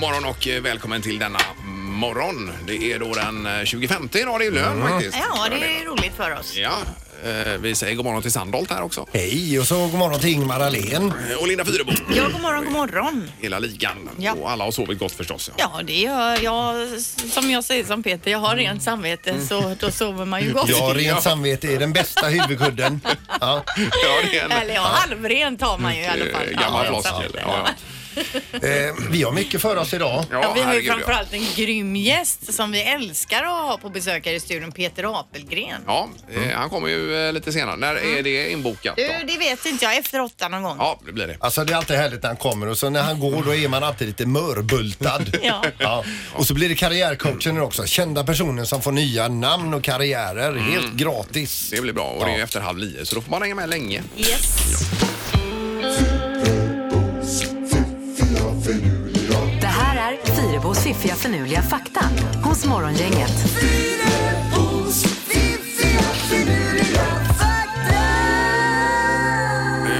morgon och eh, välkommen till denna morgon. Det är då den eh, 25 idag, det är lön faktiskt. Ja, det är roligt för oss. Ja, eh, vi säger god morgon till Sandholt här också. Hej och så god morgon till Ingmar Ahlén. Eh, Och Linda Fyrebo. Ja, god morgon, god morgon. Hela ligan. Ja. Och alla har sovit gott förstås. Ja. Ja, det gör jag. Som jag säger som Peter, jag Mm. har rent samvete så då sover man ju gott. Ja, rent samvete är den bästa huvudkudden. Ja. Ja, det är en Eller ja, halvrent har man ju i alla fall. eh, Ja, gammal rent floskel. samvete. Ja, Eh, vi har mycket för oss idag. ja. Ja, vi har ju herregud, ja. framförallt en grym gäst som vi älskar att ha på besök här i studion, Peter Apelgren. Ja, eh, han kommer ju eh, lite senare. När är det inbokat? Du, Då? Mm. det vet inte jag. Efter åtta någon gång. Ja, det blir det. Alltså det är alltid härligt när han kommer och så när han går då är man alltid lite mörbultad. Ja. Och så blir det karriärcoachen också. Kända personer som får nya namn och karriärer helt gratis. Det blir bra och det är ju efter halv nio så då får man hänga med länge. Yes. Det här är Fyrabos fiffiga förnuliga fakta hos Morgongänget.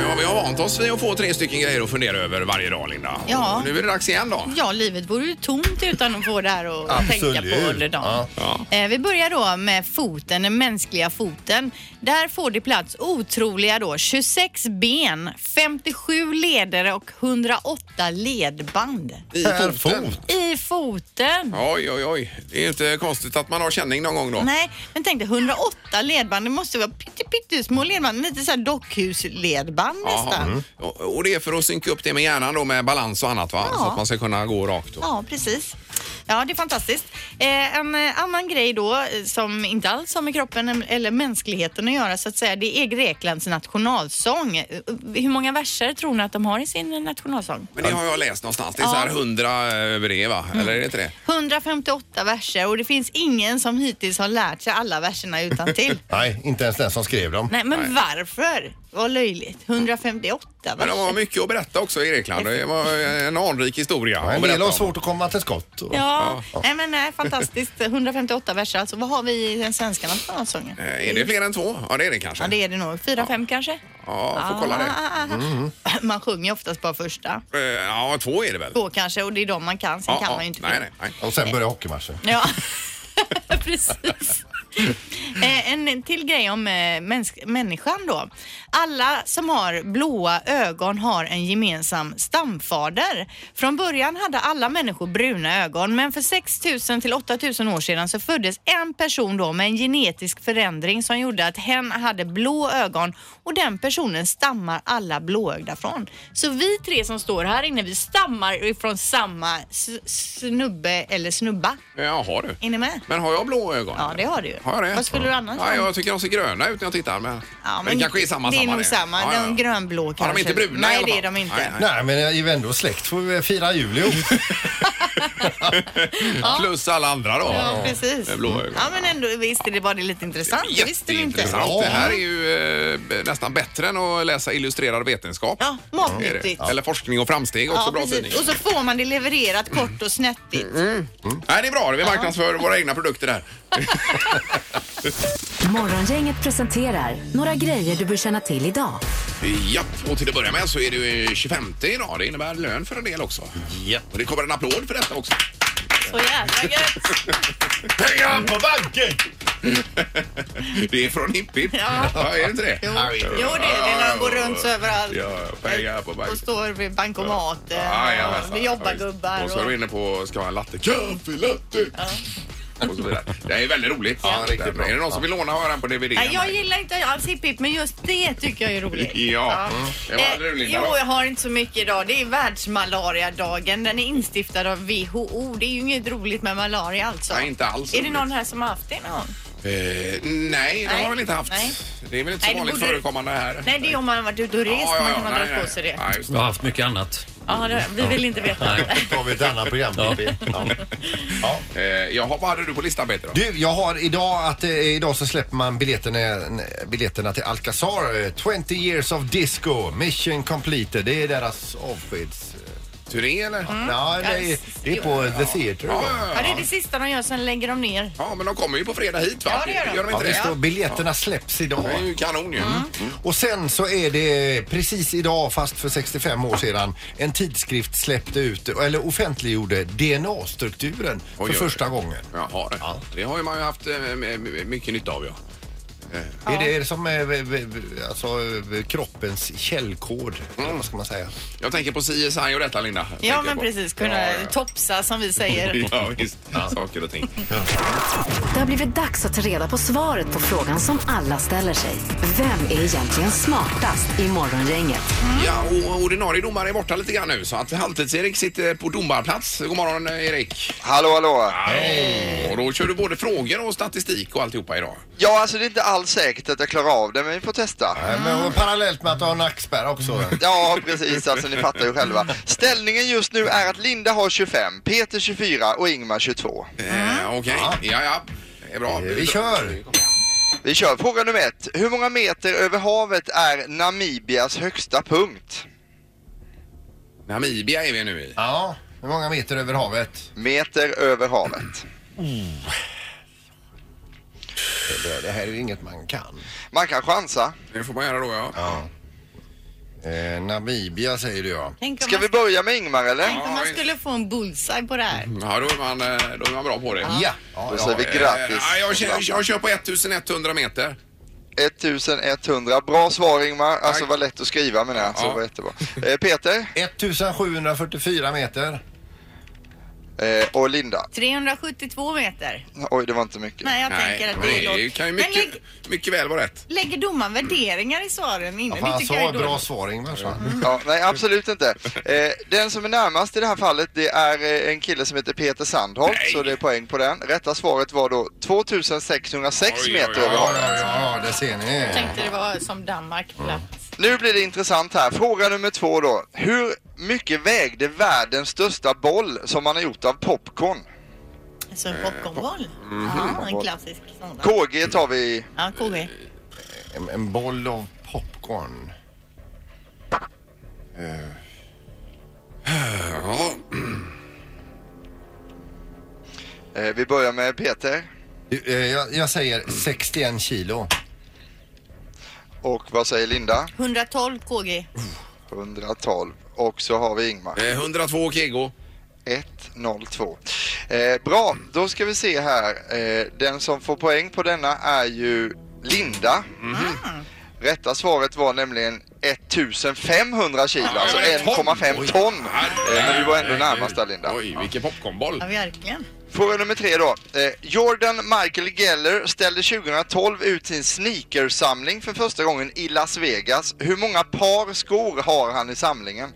Ja, vi har vant oss vid att få tre stycken grejer att fundera över varje dag, Linda. Ja. Och nu är det dags igen då. Ja, livet vore ju tomt utan att få det här att Absolut. tänka på under dagen. Ja. Eh, vi börjar då med foten, den mänskliga foten. Där får det plats otroliga då 26 ben, 57 ledare och 108 ledband. I Per foten. fot. I foten! Oj, oj, oj. Det är ju inte konstigt att man har känning någon gång då. Nej, men tänk dig 108 ledband. Det måste vara pytte- pyttesmå ledband, lite så här dockhusledband Jaha. nästan. Och, och det är för att synka upp det med hjärnan då med balans och annat va? Ja. Så att man ska kunna gå rakt. Och... Ja, precis. Ja, det är fantastiskt. Eh, en eh, annan grej då eh, som inte alls har med kroppen em- eller mänskligheten att göra så att säga, det är Greklands nationalsång. Eh, Hur många verser tror ni att de har i sin nationalsång? Men det har jag läst någonstans. Det är så här Ja. Mm. 100 över det va? Eller är det inte det? 158 verser och det finns ingen som hittills har lärt sig alla verserna utan till. Nej, inte ens den som skrev dem. Nej, men varför? Vad löjligt. 158 Men de har verser. mycket att berätta också i Grekland. Det var en anrik historia. En att del berätta har om. svårt att komma till skott. Ja, nej men nej, fantastiskt. 158 verser alltså. Vad har vi i den svenska nationalsången? Eh, Är det fler än två? Ja, det är det kanske. Ja, det är det nog. Fyra, fem kanske? Ja, får kolla det. Ah, ah, ah. Mm. Man sjunger oftast bara första. Eh, Ja, två är det väl? Två kanske och det är de man kan. Sen Ja, kan ja. man ju inte Nej, fler. nej, nej. Och sen börjar hockeymatchen. Ja, precis. Eh, En till grej om eh, mäns- människan då. Alla som har blåa ögon har en gemensam stamfader. Från början hade alla människor bruna ögon men för 6000 till 8000 år sedan så föddes en person då med en genetisk förändring som gjorde att hen hade blå ögon och den personen stammar alla blåögda från. Så vi tre som står här inne vi stammar ifrån samma s- snubbe eller snubba. Jaha du. Är ni med? Men har jag blå ögon? Ja, det har du ju. Har jag det? Vad skulle du annars ja, ha? Jag tycker de ser gröna ut när jag tittar. Men, men det kanske är samma. Det är nog samma. Ja, ja, ja. De grönblå Ja, kanske. de är inte bruna i Nej, alla det fall. är de inte. Nej, nej. Nej, men jag är ju ändå släkt får vi fira jul ihop. Plus alla andra då. Ja, precis. Med blå ögon. Ja, men ändå visst det var det lite intressant. Det visste vi inte. Jätteintressant. Det här är ju eh, b- nästan bättre än att läsa illustrerad vetenskap. Ja, Är det. matnyttigt. Eller forskning och framsteg, också Ja, bra tidning. precis. Och så får man det levererat kort och snettigt. Mm. Nej, det är bra. Vi marknadsför våra egna produkter där. Morgongänget presenterar några grejer du bör känna till idag. Japp, och till att börja med så är det ju 25 idag. Det innebär lön för en del också. Japp. Och det kommer en applåd för detta också. Så jävla gött. Pengar på banken! det är från Hipp Hipp. Ja. är det inte det? Jo, jo det är det när de går runt så överallt. Ja, pengar på banken. Och står vid bankomaten. Ja, ja, och visst. Ja, jobbar visst. Och så är de inne på ska ha en latte. Kaffe, latte! Och så vidare. Det är väldigt roligt. Ja, riktigt bra. Är det någon som vill låna och höra den på DVD? Nej, jag gillar inte alls hipp hipp, men just det tycker jag är roligt. Ja. Det var aldrig Eh, roligt. jo, jag har inte så mycket idag. Det är världsmalariadagen. Den är instiftad av WHO. Det är ju inget roligt med malaria alltså. Nej, inte alls Är det roligt. någon här som har haft det någon gång? Eh, nej, det har Nej. jag väl inte haft. Nej. Det är väl inte så Nej, det vanligt borde- förekommande här. Nej, det är om man har varit ute och rest man kan ha dragit på sig det. Ja, just Jag har haft mycket annat. Ja, det. Vi vill inte veta. Då har vi ett annat program. Ja. Ja. det. Eh, jaha, vad hade du på listan Peter? Då? Du, jag har idag att eh, idag så släpper man biljetterna, biljetterna till Mm. Alcazar. eh, 20 years of disco, mission completed. Det är deras avskeds... turné eller? Ja, det är, det är på The Theatre. Ja, då. ja, Ja, det är ja. det sista de gör, sen lägger de ner. ja, men de kommer ju på fredag hit va? Ja, det gör de. Mm. Gör de Ja, inte det det? står biljetterna släpps idag. Det är ju kanon ju. Och sen så är det precis idag, fast för 65 år sedan, en tidskrift släppte ut, eller offentliggjorde DNA-strukturen för Oj, oj, oj. första gången. Jaha, det. Ja. det har ju man ju haft eh, m- m- mycket nytta av ja. Är det är det som eh, v- v- v- alltså, eh, kroppens källkod? eller Mm. Vad ska man säga? Jag tänker på CSI och detta Linda. Tänker Ja, jag men på. precis. Kunna Ja, ja. topsa som vi säger. Ja, visst. Saker och ting. Det har blivit dags att ta reda på svaret på frågan som alla ställer sig. Vem är egentligen smartast i Morgongänget? Ja, och ordinarie domare är borta lite grann nu så att Halvtids-Erik sitter på domarplats. God morgon eh, Erik! Hallå, hallå! Hej! Och då kör du både frågor och statistik och alltihopa idag. Ja, alltså det är inte alls säkert att jag klarar av det, men vi får testa. Nej, Men, och parallellt med att du har nackspärr också. Ja, precis, alltså ni fattar ju själva. Ställningen just nu är att Linda har 25, Peter 24 och Ingmar 22. Mm. Eh, Okej, ja ja. Det är bra. Eh, vi kör. Vi kör fråga nummer ett. Hur många meter över havet är Namibias högsta punkt? Namibia är vi nu i. Ja, hur många meter över havet? Meter över havet. Det, det här är ju inget man kan. Man kan chansa. Det får man göra då ja. Eh, Namibia säger du ja. Tänk om, Ska man, vi börja med Ingmar eller? tänk om man skulle få en bullseye på det här. Ja, då är man, eh, då är man bra på det. Ja, ja, Då säger vi Eh, grattis. ja, jag, kör, jag kör på 1100 meter. 1100. Bra svar Ingmar. Alltså Tack. var lätt att skriva menar jag, så Ja. var jättebra. Eh, Peter 1744 meter. eh, och Linda. 372 meter. Oj, det var inte mycket. Nej, jag tänker att det är men det lågt. kan ju Men mycket, lägg, mycket väl vara rätt. lägger domaren värderingar i svaren innan? Ja, fan, det han tycker jag sa är bra dåligt. svar Ingvar. sa han. Ja, nej, absolut inte. Eh, den som är närmast i det här fallet det är eh, en kille som heter Peter Sandholt, Nej. så det är poäng på den. Rätta svaret var då 2606 Oj, oj, meter oj, över Ja, havet. ja, ja, det ser ni. Jag tänkte det var som Danmark platt. Nu blir det intressant här. Fråga nummer två då. Hur mycket vägde världens största boll som man har gjort av popcorn? Så Alltså, en popcornboll. Mm-hmm. Ja, en klassisk sådan. KG tar vi. Ja, KG. En, en boll av popcorn. Ja, Eh, vi börjar med Peter. Eh, Jag, jag säger 61 kilo. Och vad säger Linda? 112 KG. 112. Och så har vi Ingmar. eh, 102 kg. 1-0-2. Eh, bra, då ska vi se här. Eh, den som får poäng på denna är ju Linda. Mm. Mm. Rätta svaret var nämligen 1500 kilo, alltså det var ton. 1,5 ton. Oj. Eh, men du var ändå närmast där Linda. Oj, vilken popcornboll. Ja, verkligen. Fråga nummer tre då. Eh, Jordan Michael Geller ställde 2012 ut sin sneakersamling för första gången i Las Vegas. Hur många par skor har han i samlingen?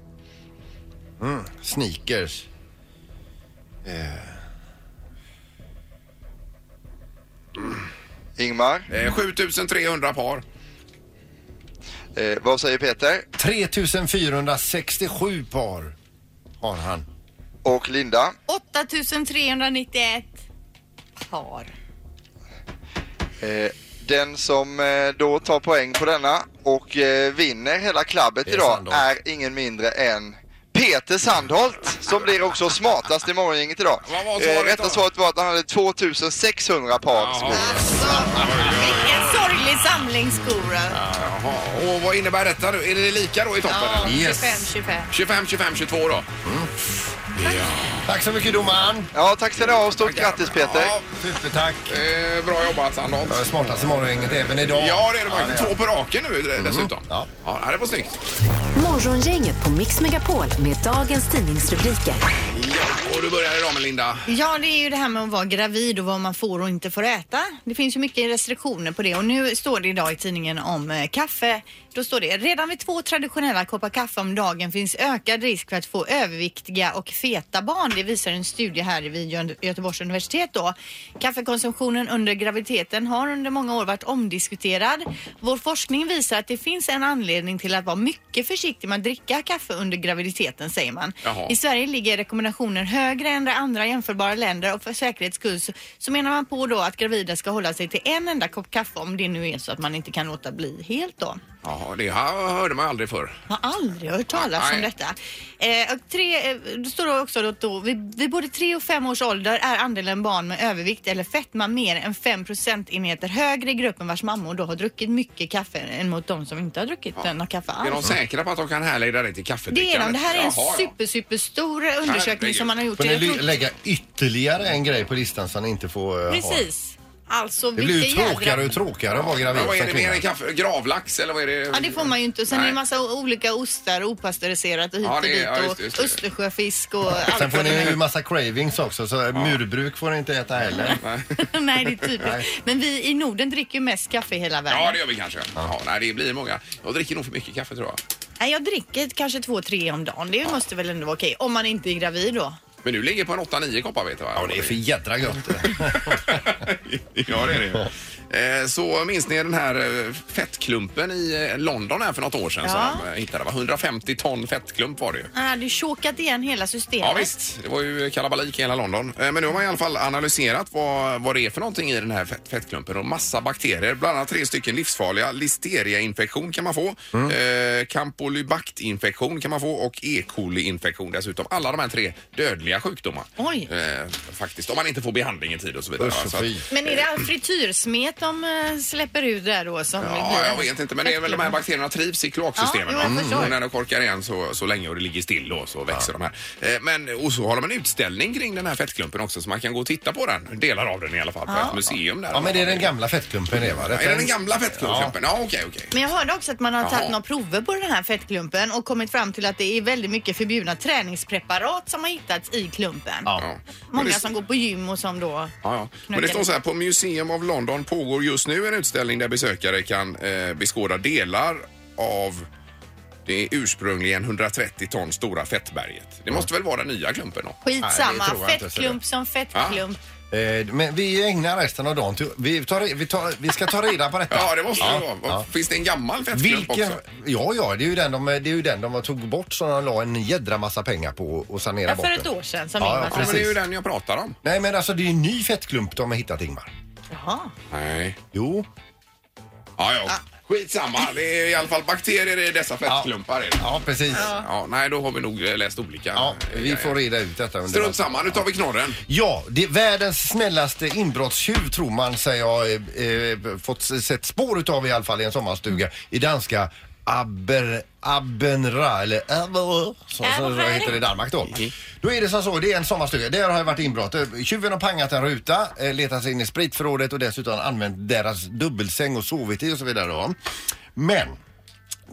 Sneakers. Ingmar, Eh, 7300 par. eh, vad säger Peter? 3467 par har han. Och Linda? 8391 par. Eh, Den som eh, då tar poäng på denna och eh, vinner hela klabbet Det är idag Sandholt. är ingen mindre än Peter Sandholt som blir också smartast i morgongänget idag. Vad var Eh, svaret då? Rätta svaret var att han hade 2600 par skor. Alltså, vilken sorglig samling skor. Ja, Jaha, och vad innebär detta nu? Är det lika då i toppen? eller? Yes. 25-25. 25, 25, 22 då. Mm. Tack så mycket domaren. Ja, tack ska ni ha och stort grattis Peter. Ja, Supertack. eh, bra jobbat Sandholt. Jag är smartast i morgongänget även idag. Ja, det är det faktiskt. Två på raken nu eh, dessutom. Mm. Ja. ja, det var snyggt. Morgongänget på Mix Megapol med dagens tidningsrubriker. Ja, och du börjar idag med Linda. Ja, det är ju det här med att vara gravid och vad man får och inte får äta. Det finns ju mycket restriktioner på det och nu står det idag i tidningen om eh, kaffe. Då står det redan vid två traditionella koppar kaffe om dagen finns ökad risk för att få överviktiga och feta barn. Det visar en studie här vid Gö- Göteborgs universitet då. Kaffekonsumtionen under graviditeten har under många år varit omdiskuterad. Vår forskning visar att det finns en anledning till att vara mycket försiktig med att dricka kaffe under graviditeten säger man. Jaha. I Sverige ligger rekommendationen högre än det andra jämförbara länder och för säkerhets skull så, så menar man på då att gravida ska hålla sig till en enda kopp kaffe om det nu är så att man inte kan låta bli helt då. Ja, det här hörde man aldrig förr. Jag har aldrig hört talas om Nej. detta. Eh, och tre, eh, det står då också att då, vid, vid både tre och fem års ålder är andelen barn med övervikt eller fetma mer än fem procentenheter högre i gruppen vars mammor då har druckit mycket kaffe än mot de som inte har druckit ja. någon kaffe Är de alls. säkra på att de kan härleda det till Det är kaffedrickandet? de. Det här är en Jaha, ja. super, superstor undersökning som man har gjort. Får ni Jag lä- tror- lägga ytterligare en grej på listan som ni inte får eh, ha? Precis. Alltså, Det blir ju vilka jädra- tråkigare och tråkigare att vara gravid Men vad är det som mer än kvinna. kaffe? Gravlax eller vad är det? Ja, det får man ju inte. Sen är Nej. det massa o- olika ostar och opastöriserat och hit Ja, och det är- dit ja, just och det, just det. Östersjöfisk och allt Sen får vad det ni är. ju massa cravings också så murbruk får ni inte äta heller. Nej, det är typiskt. Men vi i Norden dricker ju mest kaffe i hela världen. Ja, det gör vi kanske. Ja, nej, det blir många. Jag dricker nog för mycket kaffe tror jag. Nej, jag dricker kanske två, tre om dagen. Det måste väl ändå vara okej. Om man inte är gravid då. Men du ligger på en 8-9 koppar vet du va? Ja, det är för jädra gott. ja, det är det. Eh, Så minns ni den här eh, fettklumpen i eh, London här för något år sedan Ja. som de eh, hittade? va? 150 ton fettklump var det ju. Han hade ju chokat igen hela systemet. Ja, visst, det var ju kalabalik i hela London. Eh, Men nu har man i alla fall analyserat vad, vad det är för någonting i den här fett, fettklumpen och massa bakterier, bland annat tre stycken livsfarliga. Listeriainfektion kan man få, Mm. eh, Campylobacter-infektion kan man få och E. coli-infektion dessutom. Alla de här tre dödliga sjukdomar. Oj. Eh, faktiskt, om man inte får behandling i tid och så vidare. Usch och Så att- fy. Men är det all frityrsmet de eh, släpper ut där då som Ja, jag vet inte, men det är väl de här bakterierna trivs i kloaksystemen. Ja, jo, jag va? förstår. Och när de korkar igen så, så länge och det ligger still då så växer de här. Eh, Men, och så har de en utställning kring den här fettklumpen också så man kan gå och titta på den, delar av den i alla fall, på ett museum där. Ja men det är den gamla fettklumpen det va? Ja, Är det den gamla fettklumpen? Ja, okej, okej. Men jag hörde också att man har Jaha. tagit några prover på den här fettklumpen och kommit fram till att det är väldigt mycket förbjudna träningspreparat som har hittats i klumpen. Ja. Men Många det- som går på gym och som då... Ja, ja. Men det Knökar. står så här, på Museum of London pågår just nu en utställning där besökare kan eh, beskåda delar av det ursprungligen 130 ton stora fettberget. Det måste väl vara den nya klumpen då? Skitsamma, Nej, det tror jag inte, så fettklump som fettklump. Eh, Men vi ägnar resten av dagen till... Vi, tar, re- vi, tar, vi ska ta reda på detta. Ja, det måste det vara. ja. Finns det en gammal fettklump Vilken... också? Ja, ja, det är ju den de, det är ju den de tog bort som de la en jädra massa pengar på och sanera Ja, bort. för den. ett år sedan som Ja, Ingmar ja, Ja, men sa. det är ju Precis. den jag pratar om. Nej, men alltså det är ju en ny fettklump de har hittat, Ingmar. Jaha. Nej. Jo. Ja, ja. Skitsamma. Det är i alla fall bakterier i dessa fettklumpar. Är det. Ja, precis. Ja. Ja, nej, då har vi nog eh, läst olika. eh, vi grejer. får reda ut detta under Strunt samma, nu tar vi knorren. Ja, det är världens snällaste inbrottstjuv tror man sig ha eh, eh, fått s- sett spår utav i alla fall i en sommarstuga i danska Aber, Abenra eller Aber, som, som Abenra. det heter i Danmark då. Då är det som så, det är en sommarstuga, där har det varit inbrott. Eh, Tjuven har pangat en ruta, eh, letat sig in i spritförrådet och dessutom använt deras dubbelsäng och sovit i och så vidare då. Men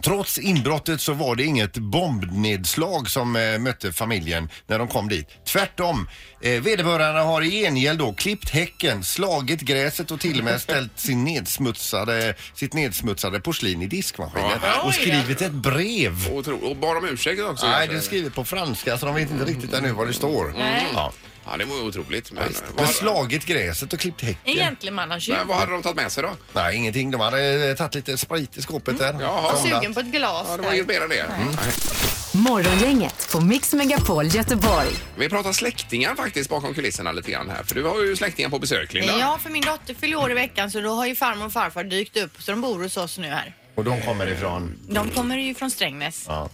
Trots inbrottet så var det inget bombnedslag som eh, mötte familjen när de kom dit. Tvärtom. Eh, vederbörande har i gengäld då klippt häcken, slagit gräset och till och med ställt sin nedsmutsade, sitt nedsmutsade porslin i diskmaskinen Ja. och skrivit ett brev. Och, tro, och bara om ursäkt också. Nej, kanske. det är skrivet på franska så de vet inte riktigt ännu vad det står. Mm. Ja. Ja, det var ju otroligt. Men, eh, Men vad, slagit gräset och klippt häcken. Egentligen man har tjuv. men vad hade de tagit med sig då? Nej, ingenting. De hade eh, tagit lite sprit i skåpet där. Jaha. Och Som sugen på ett glas Ja, det var där. inget mer än det. Nej. Morgongänget på Mix Megapol Göteborg. Vi pratar släktingar faktiskt bakom kulisserna lite grann här. För du har ju släktingar på besök, Linda. Ja, för min dotter fyller år i veckan så då har ju farmor och farfar dykt upp så de bor hos oss nu här. Och de kommer ifrån... De kommer ju från Strängnäs. Ja,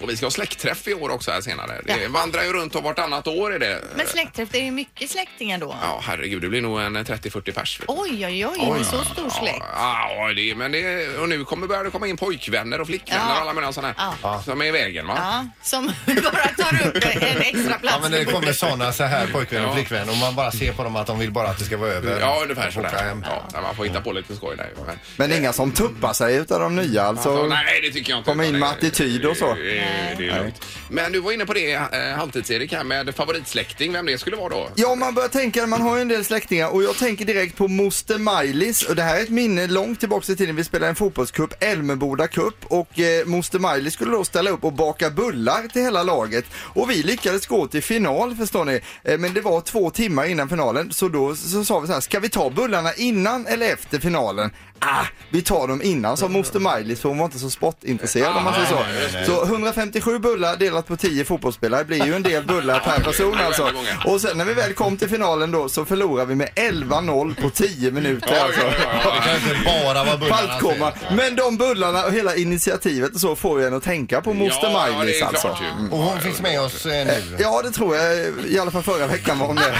och vi ska ha släktträff i år också här senare. Det vandrar ju runt och vartannat år är det. Men släktträff, det är ju mycket släktingar då. Ja, herregud, det blir nog en 30-40 pers. vet du. Oj, oj, oj, en så stor släkt. Ja, ja, det, men det, och nu kommer börjar det komma in pojkvänner och flickvänner Ja. och alla möjliga sådana här som är i vägen. Va? Ja, som bara tar upp en extra plats. Ja men det på kommer bordet. sådana så här pojkvän Ja. och flickvän och man bara ser på dem att de vill bara att det ska vara över. Ja, ungefär sådär. Åka hem. Ja, nej, man får hitta på lite skoj där. ju, Men, Men inga som tuppar sig utav de nya alltså, alltså. nej, det tycker jag inte. komma in utan med det- attityd och så. Det, det, det är lugnt. Men du var inne på det, eh, Halvtids-Erik, här med favoritsläkting, vem det skulle vara då? Ja, man börjar tänka, man har ju en del släktingar och jag tänker direkt på moster Maj-Lis och det här är ett minne långt tillbaka i tiden. Vi spelade en fotbollscup, Älmeboda cup och eh, moster Maj-Lis skulle då ställa upp och baka bullar till hela laget och vi lyckades gå till final förstår ni. Eh, men det var två timmar innan finalen så då så sa vi så här, ska vi ta bullarna innan eller efter finalen? Ah, vi tar dem innan, sa moster moster maj för hon var inte så sportintresserad om man säger så. Så 157 bullar delat på 10 fotbollsspelare blir ju en del bullar per person det är alltså. väldigt många. Och sen när vi väl kom till finalen då så förlorade vi med 11-0 på 10 minuter alltså. Det kan ju inte bara vara bullarna. Baltkomma. Men de bullarna och hela initiativet och så får ju en att tänka på moster Ja, maj det är alltså. klart ju. Mm. Och hon finns med oss eh, nu. Ja, det tror jag. I alla fall förra veckan var hon med.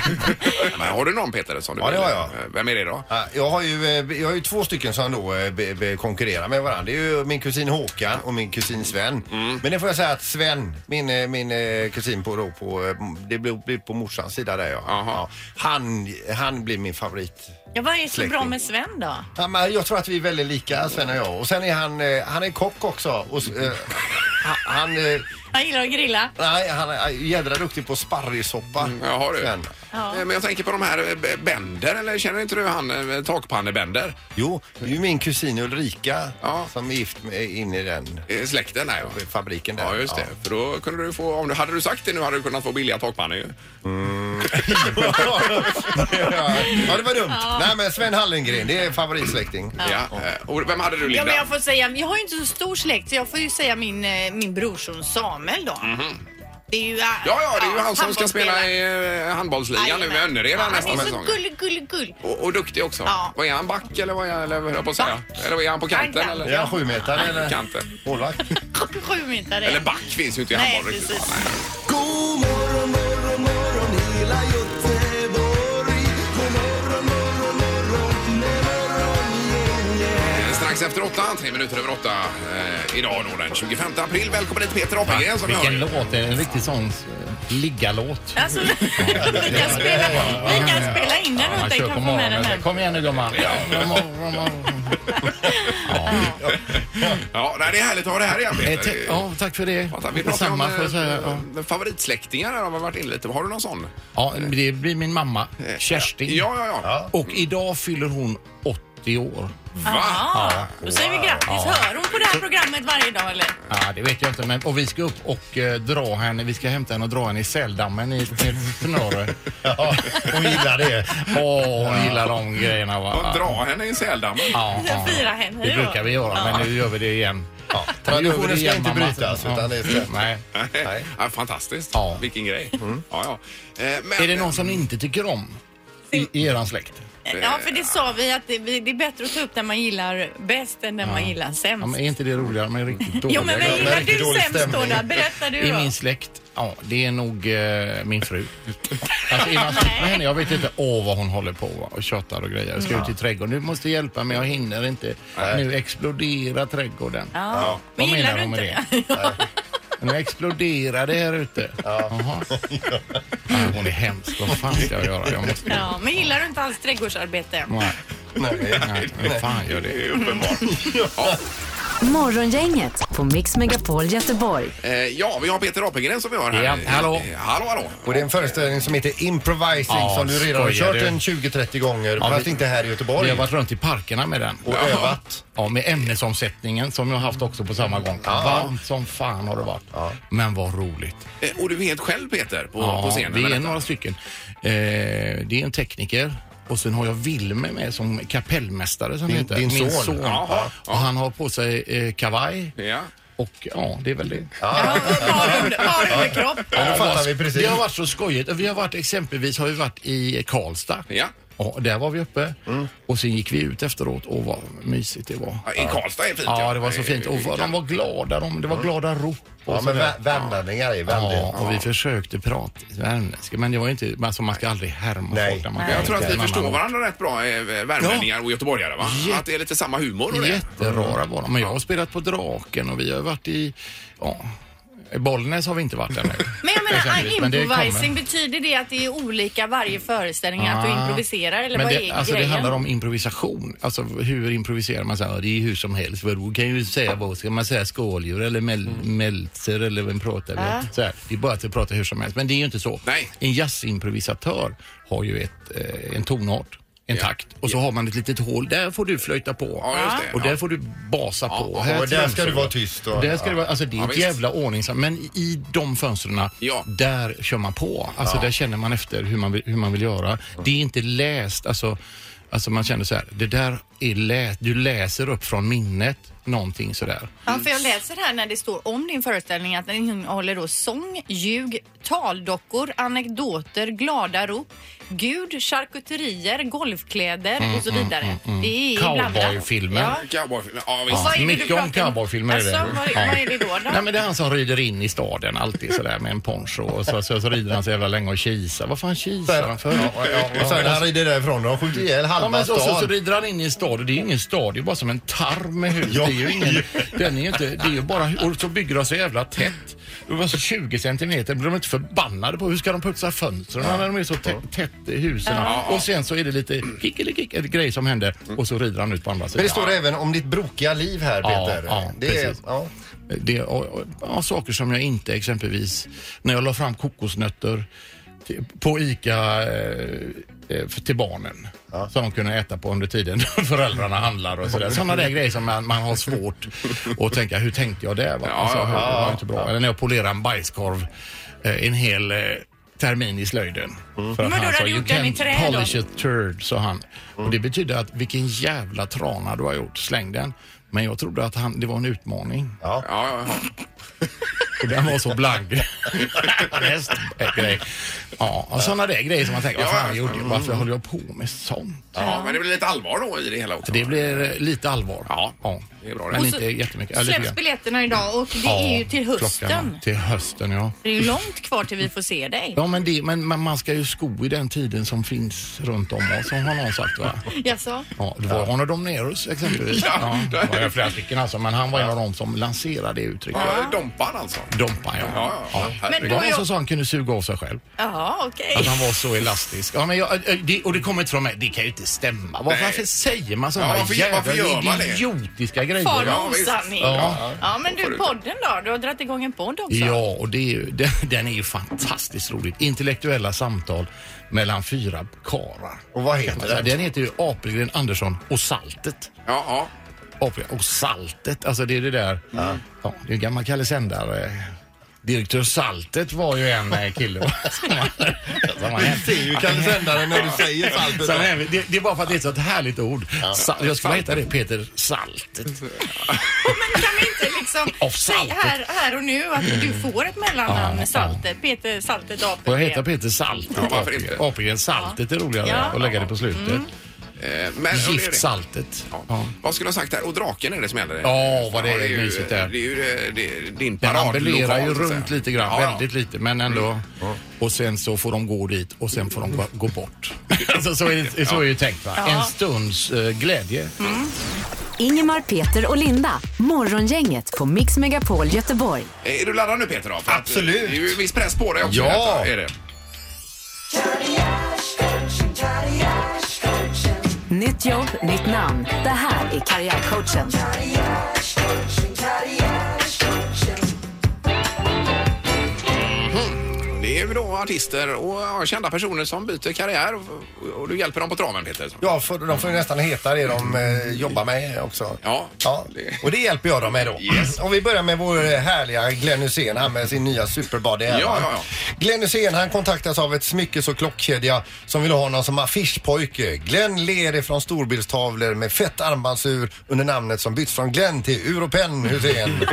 Men har du någon Peter som du Ja, det vill- har jag. Eh, Vem är det då? Ja, Jag har, ju, eh, jag har ju två stycken som då eh, be- be- konkurrerar med varandra. Det är ju min kusin Håkan och min kusin Sven. Mm. Men det får jag säga att Sven, min, eh, min eh, kusin på, då, på, eh, det blir, blir på morsans sida där ja. Aha. ja han, han blir min favorit. Ja, vad är så Släkting. bra med Sven då? Ja, men jag tror att vi är väldigt lika Sven och jag. Och sen är han, eh, han är kock också. Och, s- eh, ha- han, eh, Han gillar att grilla. nej, han är jädra duktig på sparrissoppa. Mm, Ja, har du? Sven. Ja. Eh, Men jag tänker på de här eh, B- Bender, eller känner inte du han eh, takpannebänder? Jo, det är ju min kusin Ulrika Ja. som är gift med, in i den Eh, Släkten där ja. fabriken där. Ja, just det. För då kunde du få, om du, hade du sagt det nu hade du kunnat få billiga takpannor ju. ja, det var dumt. Nej, men Sven Hallengren, det är favoritsläkting. Ja. eh, Och vem hade du Ja, Linda? men jag får säga, jag har ju inte så stor släkt så jag får ju säga min, eh, min brorson Samuel då. Det är ju, eh, Mhm. Ja, ja, det är ju han som ska spela handbollsspelare. i eh, handbollsligan nu med Jajamän. Önnered här nästa Han är säsong. så gullig, gullig, gullig. Och, och duktig också. Ja. Vad är han, back eller vad är han, eller vad höll jag på att säga? Back. Eller vad är han på kanten? Kanten. Eller? Är han sjumetare eller? Kanten. Målvakt? Sju meter. Eller back finns ju inte i Nej, handboll riktigt. precis. va? Nej. Eh, Strax efter åtta, tre minuter över åtta eh, idag då den 25 april. Välkommen hit Peter Apelgren som vi Vilken hör. låt, det är en riktig sån eh, liggalåt. Alltså, vi kan spela, vi kan spela in den åt dig. kör Kan få med den hem. Kom igen nu gumman. Ja, nej, det är härligt att ha det här igen Eh, ta- Peter. Ja, tack för det. Vänta, Vi pratar om Detsamma, får jag säga. Ja. eh, favoritsläktingar här har vi varit inne lite. Har du någon sån? Ja, det blir min mamma Eh, Kerstin. Ja, ja, ja. Och idag fyller hon 80 år. Va? Ja, då säger vi grattis. Hör hon på det här programmet varje dag eller? Ja, det vet jag inte. Men, och vi ska upp och eh, dra henne. Vi ska hämta henne och dra henne i Säldammen i Tenore. Ja, hon gillar det. Åh, hon gillar de grejerna va. Och Dra henne i säldammen. Ja, ja. Fira henne Det då. brukar vi göra, men nu gör vi det igen. Ja. Traditionen ska inte brytas, utan det ska- Nej. Nej. Ja, fantastiskt. Ja. Mm. Vilken grej. Ja, ja. Eh, Men, Är det någon som ni inte tycker om i, i eran släkt? Ja, för det sa vi att det, vi- det är bättre att ta upp den man gillar bäst än den man gillar Ja, men sämst. är inte det roligare med riktigt dåliga Jo, men vem grejer? gillar riktigt du dålig sämst då? stämning. där? Berätta du I då. min släkt, ja, det är nog eh, min fru. Alltså, är man släkt med henne, jag vet inte åh vad hon håller på va, och tjatar och grejer. Jag ska ut i trädgården. Du måste hjälpa mig, jag hinner inte. Nu exploderar trädgården. Ja. Men Vad gillar menar du de med inte? Nu exploderar det här ute. Jaha. Nej, hon är hemsk. Vad fan ska jag göra? Jag måste... Ja, men gillar du inte hans trädgårdsarbete? Nej. Nej. Nej, vem fan gör Det det? är uppenbart. Morgongänget på Mix Megapol Göteborg. Eh, Ja, vi har Peter Apelgren som vi har här. Ja, hallå. Eh, Hallå, hallå. Och det är en föreställning som heter Improvising Ja, som du redan har skojar kört du? en 20-30 gånger, Ja, fast vi- inte här i Vi Göteborg. har varit runt i parkerna med den. Och övat. Ja, med ämnesomsättningen som jag har haft också på samma gång. Varmt som fan har det varit. Men vad roligt. Eh, Och du är helt själv Peter på, Ja, på scenen? vi med är detta. några stycken. Eh, det är en tekniker och sen har jag Wilmer med som kapellmästare som Din- heter. din Min son. son. Jaha, ja. Och han har på sig eh, kavaj Ja. och ja, det är väl det. Ja, Bara under- bara underkropp. Ja, då fattar vi precis. Det har varit så skojigt. Vi har varit exempelvis har vi varit i Karlstad. Ja. Ja, där var vi uppe Mm. och sen gick vi ut efteråt och vad mysigt det var. Ja, Eh, I Karlstad är Mm. fint. Ja, det var så fint. Och vad- de var glada. De, det var glada rop Ja, och men sådär. vä- värmlänningar är väldigt... Ja, och vi försökte prata värmländska. Men det var ju inte, alltså man ska aldrig härma Nej. folk när man Men jag kommer tror att till vi en förstår annan varandra rätt bra, eh, värmlänningar och göteborgare va? Jätte- Att det är lite samma humor och ort. det. Jätterara var de. Men jag har spelat på Draken och vi har varit i, ja, i Bollnäs har vi inte varit ännu. Men jag menar, Exempelvis, ah, men det kommer. improvising, betyder det att det är olika varje föreställning? Att du Ah. improviserar eller Men vad det, är alltså, grejen? Det handlar om improvisation. Alltså hur improviserar man? Så här, ja, det är ju hur som helst. För du kan ju säga vad ska man säga? Skåldjur eller mel- meltzer eller vem pratar vi? Ah. Så här, det är bara att vi pratar hur som helst. Men det är ju inte så. Nej. En jazzimprovisatör har ju ett, eh, en tonart. En takt och så har man ett litet hål. Där får du flöjta på Ja, just det. och Ja. där får du basa på. och där ska du vara tyst och- Och där ska du vara, alltså det är Ja, ett visst. jävla ordningsam. Men i de fönstren, Ja. där kör man på. Alltså där känner man efter hur man vill, hur man vill göra. Det är inte läst, alltså, alltså man känner så här, det där är lä- du läser upp från minnet någonting sådär. Ja, för jag läser här när det står om din föreställning att den innehåller då sång, ljug, taldockor, anekdoter, glada rop, gud, charkuterier, golfkläder Mm, och så vidare. Det är blandat. Cowboyfilmer. Ja. Cowboyfilmer. Ja, Och visst. vad är det Mycket du pratar om cowboyfilmer är det. Alltså, vad, Ja. vad är det då? då? Nej men det är han som rider in i staden alltid sådär med en poncho och så, så, så rider han så jävla länge och kisar. Vad fan kisar han för? Ja, ja, och sen när han rider därifrån, de skjuter ihjäl Ja, men halva så, så, så stan. rider han in i en stad och det är ju ingen stad, det är bara som en tarm med hus. Ja. Det är ju ingen, den är ju inte, det är ju bara, och så bygger de så jävla tätt. Det var så 20 centimeter, blir de inte förbannade på hur ska de putsa fönstren när de är så tätt, tätt i husen? Och sen så är det lite kickelikick, en grej som händer och så rider han ut på andra Men sidan. det står även om ditt brokiga liv här, Ja, Peter. ja, det är, precis. ja. Det, och, och, ja, saker som jag inte exempelvis, när jag la fram kokosnötter till, på ICA eh, eh, för- till barnen som de kunde äta på under tiden föräldrarna handlar och sådär. Sådana där grejer som man, man har svårt att tänka, hur tänkte jag där? Va? Alltså, ja, hur- det var inte bra. Eller när jag polerar en bajskorv eh, en hel eh, termin i slöjden. Mm. För att Men då han sa, hade du "You gjort den i can't trä då?" polish a turd, sa han. Mm. Och det betyder att vilken jävla trana du har gjort, släng den. Men jag trodde att han, det var en utmaning. Ja, ja, Och den var så blank. Bäst grej. Ja, och sådana där grejer som man tänker, vad Ja, fan ja. gjorde jag? Varför håller jag på med sånt? ja. ja, men det blir lite allvar då i det hela också. Det blir eh, lite allvar. Ja, det är bra det. Men Och så inte jättemycket. Ja, lite Släpps grann. biljetterna idag och det är ju Ja, till hösten. klockan, Till hösten, ja. Det är ju långt kvar till vi får se dig. Ja, men, det, men men man ska ju sko i den tiden som finns runt om oss, som har någon sagt va? Jaså? Ja, det var Arne Domnerus exempelvis. Ja. Ja, det var ju flera stycken alltså, men han var en av dem som lanserade det uttrycket. Ja, Dompan alltså. Dompan, ja. Ja, ja. ja. Men Det herregud. då- var någon som sa han kunde suga av sig själv. Jaha, okej. Att han var så elastisk. Ja, men jag, äh, det, och det kommer inte från mig. Det kan ju inte stämma. Varför, Nej. varför säger man Ja, sådana varför- varför gör man jävla det? idiotiska Far grejer? med Ja, visst. osanning. Ja. Ja. men du podden då? Du har dragit igång en podd också. Ja, och det är ju, den, den är ju fantastiskt rolig. Intellektuella samtal mellan fyra karar. Och vad Kan man heter säga. det? Den heter ju Apelgren, Andersson och Saltet. Ja, ja. Apelgren och Saltet, alltså det är det där. Ja, det är ju gammal Kalle Sändare. Direktör Saltet var ju en eh, kille va, som var, som var Det är ju kalendern när du säger saltet. Sen är vi- det, det är bara för att det är ett sånt härligt ord. Sa, jag skulle heta det Peter Saltet. Men kan vi inte liksom Av säga saltet. här, här och nu att du får ett mellannamn Ja, med saltet? Peter Saltet Apelgren. Och jag heter Peter Saltet. Ja, varför inte? Apelgren Saltet är roligare Ja. att lägga det på slutet. Mm. Eh, Men, och det är Gift det. Saltet. Ja. Ja. Vad skulle jag ha sagt där? Och draken är det som gäller. Ja, vad det är ju- mysigt där. Det är ju eh, det är din Den parad. ambulerar ju runt lite grann, väldigt lite, men ändå. Och sen så får de gå dit och sen får de gå, gå bort. alltså, så, är det, så är det ju tänkt va? En stunds eh, glädje. Ingemar, Peter och Linda. Morgongänget på Mix Megapol Göteborg. Är du laddad nu Peter? Då? För att, eh, Absolut. Det är ju viss press på dig också. Ja. detta, Är det. Nytt jobb, nytt namn. Det här är Karriärcoachen. det är ju då artister och ja, kända personer som byter karriär och, och du hjälper dem på traven Peter. Ja, för, de får ju nästan heta det de eh, jobbar med också. Ja. ja. Och det hjälper jag dem med då. Yes. Om vi börjar med vår härliga Glenn Hysén, han med sin nya superbody. här, Ja, va? ja, ja. Glenn Hysén, han kontaktas av ett smyckes och klockkedja som vill ha honom som affischpojke. Glenn ler ifrån storbildstavlor med fett armbandsur under namnet som bytts från Glenn till Uropen Hysén.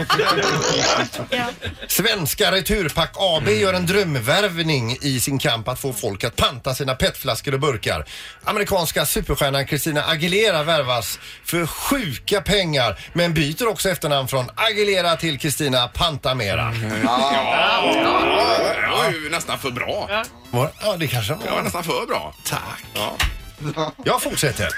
Svenska Returpack AB Mm. gör en drömvärvning i sin kamp att få folk att panta sina petflaskor och burkar. Amerikanska superstjärnan Christina Aguilera värvas för sjuka pengar men byter också efternamn från Aguilera till Christina Pantamera. Mm. Ja, det var ju nästan för bra. Var- Ja, det kanske Det var var. nästan för bra. Tack. Ja. Jag fortsätter.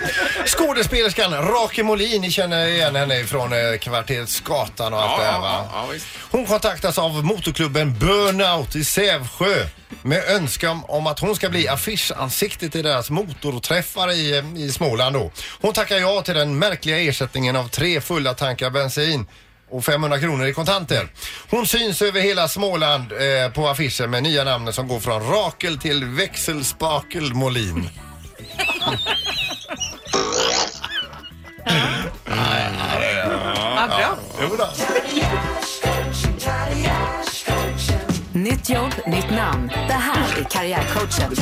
Skådespelerskan Rake Molin, ni känner igen henne från eh, kvarteret Skatan och allt Ja, det här ja, va? ja, ja, visst. Hon kontaktas av motorklubben Burnout i Sävsjö med önskan om att hon ska bli affischansiktet i deras motorträffar i, eh, i Småland då. Hon tackar ja till den märkliga ersättningen av tre fulla tankar bensin och 500 kronor i kontanter. Hon syns över hela Småland eh, på affischer med nya namn som går från Rakel till Växelspakel Molin. Ja, bra. Jo då. Nytt jobb, nytt namn. Det här är Karriärcoachen.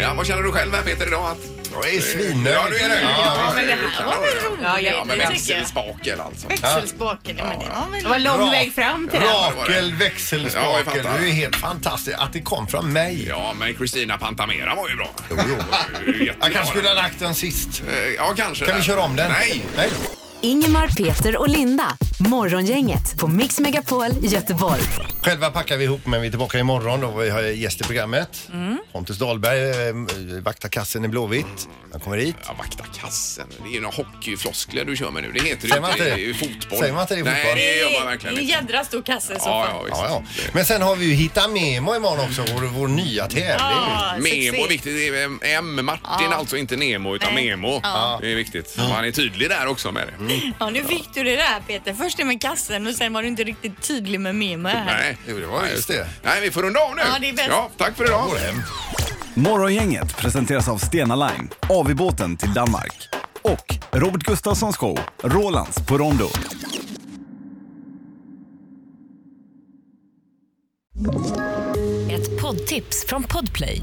Ja, vad känner du själv här Peter idag? Att... Jag är svinnöjd. Ja, du är nöjd. Ja, men det här var väl roligt? Ja, Ja, men jätteroligt. växelspakel alltså. Växelspaken, ja, men det var väl... Det var lång Bra. väg fram till den. Rakel Ja, jag växelspakel. fattar. Du är helt fantastisk att det kom från mig. Ja, men Christina Pantamera var ju bra. Jo, Jag kanske skulle ha lagt den sist. Eh, Ja, kanske. Kan vi köra om den? Nej. Nej. Ingemar, Peter och Linda. Morgongänget på Mix Megapol Göteborg. Själva packar vi ihop men vi är tillbaka imorgon och vi har gäst i programmet. Pontus Dahlberg eh, vaktar kassen i Blåvitt. Han kommer hit. Ja, vakta kassen. Det är ju några hockeyfloskler du kör med nu. Det heter Säger ju man inte. inte Det det? är ju fotboll. Säger man inte det i Nej, fotboll? det gör man Det är verkligen en inte. jädra stor kasse i så Ja, fall. ja, Ja, ja. visst. Men sen har vi ju Hitta Nemo imorgon också, vår, vår nya tävling. Ah, succé. Memo är viktigt. Det är M. Martin alltså, inte Nemo utan Nej. Memo. Det är viktigt. Och Han är tydlig där också med det. Mm. Ja, nu fick du det där Peter. Först det med kassen och sen var du inte riktigt tydlig med Memo här. Nej, Jo, det var Nej, just det. Nej, vi får runda av nu. Ja, det är bäst. Ja, tack för idag. Morgongänget presenteras av Stena Line, AV-båten till Danmark och Robert Gustafssons show Rolands på Rondo. Ett poddtips från Podplay.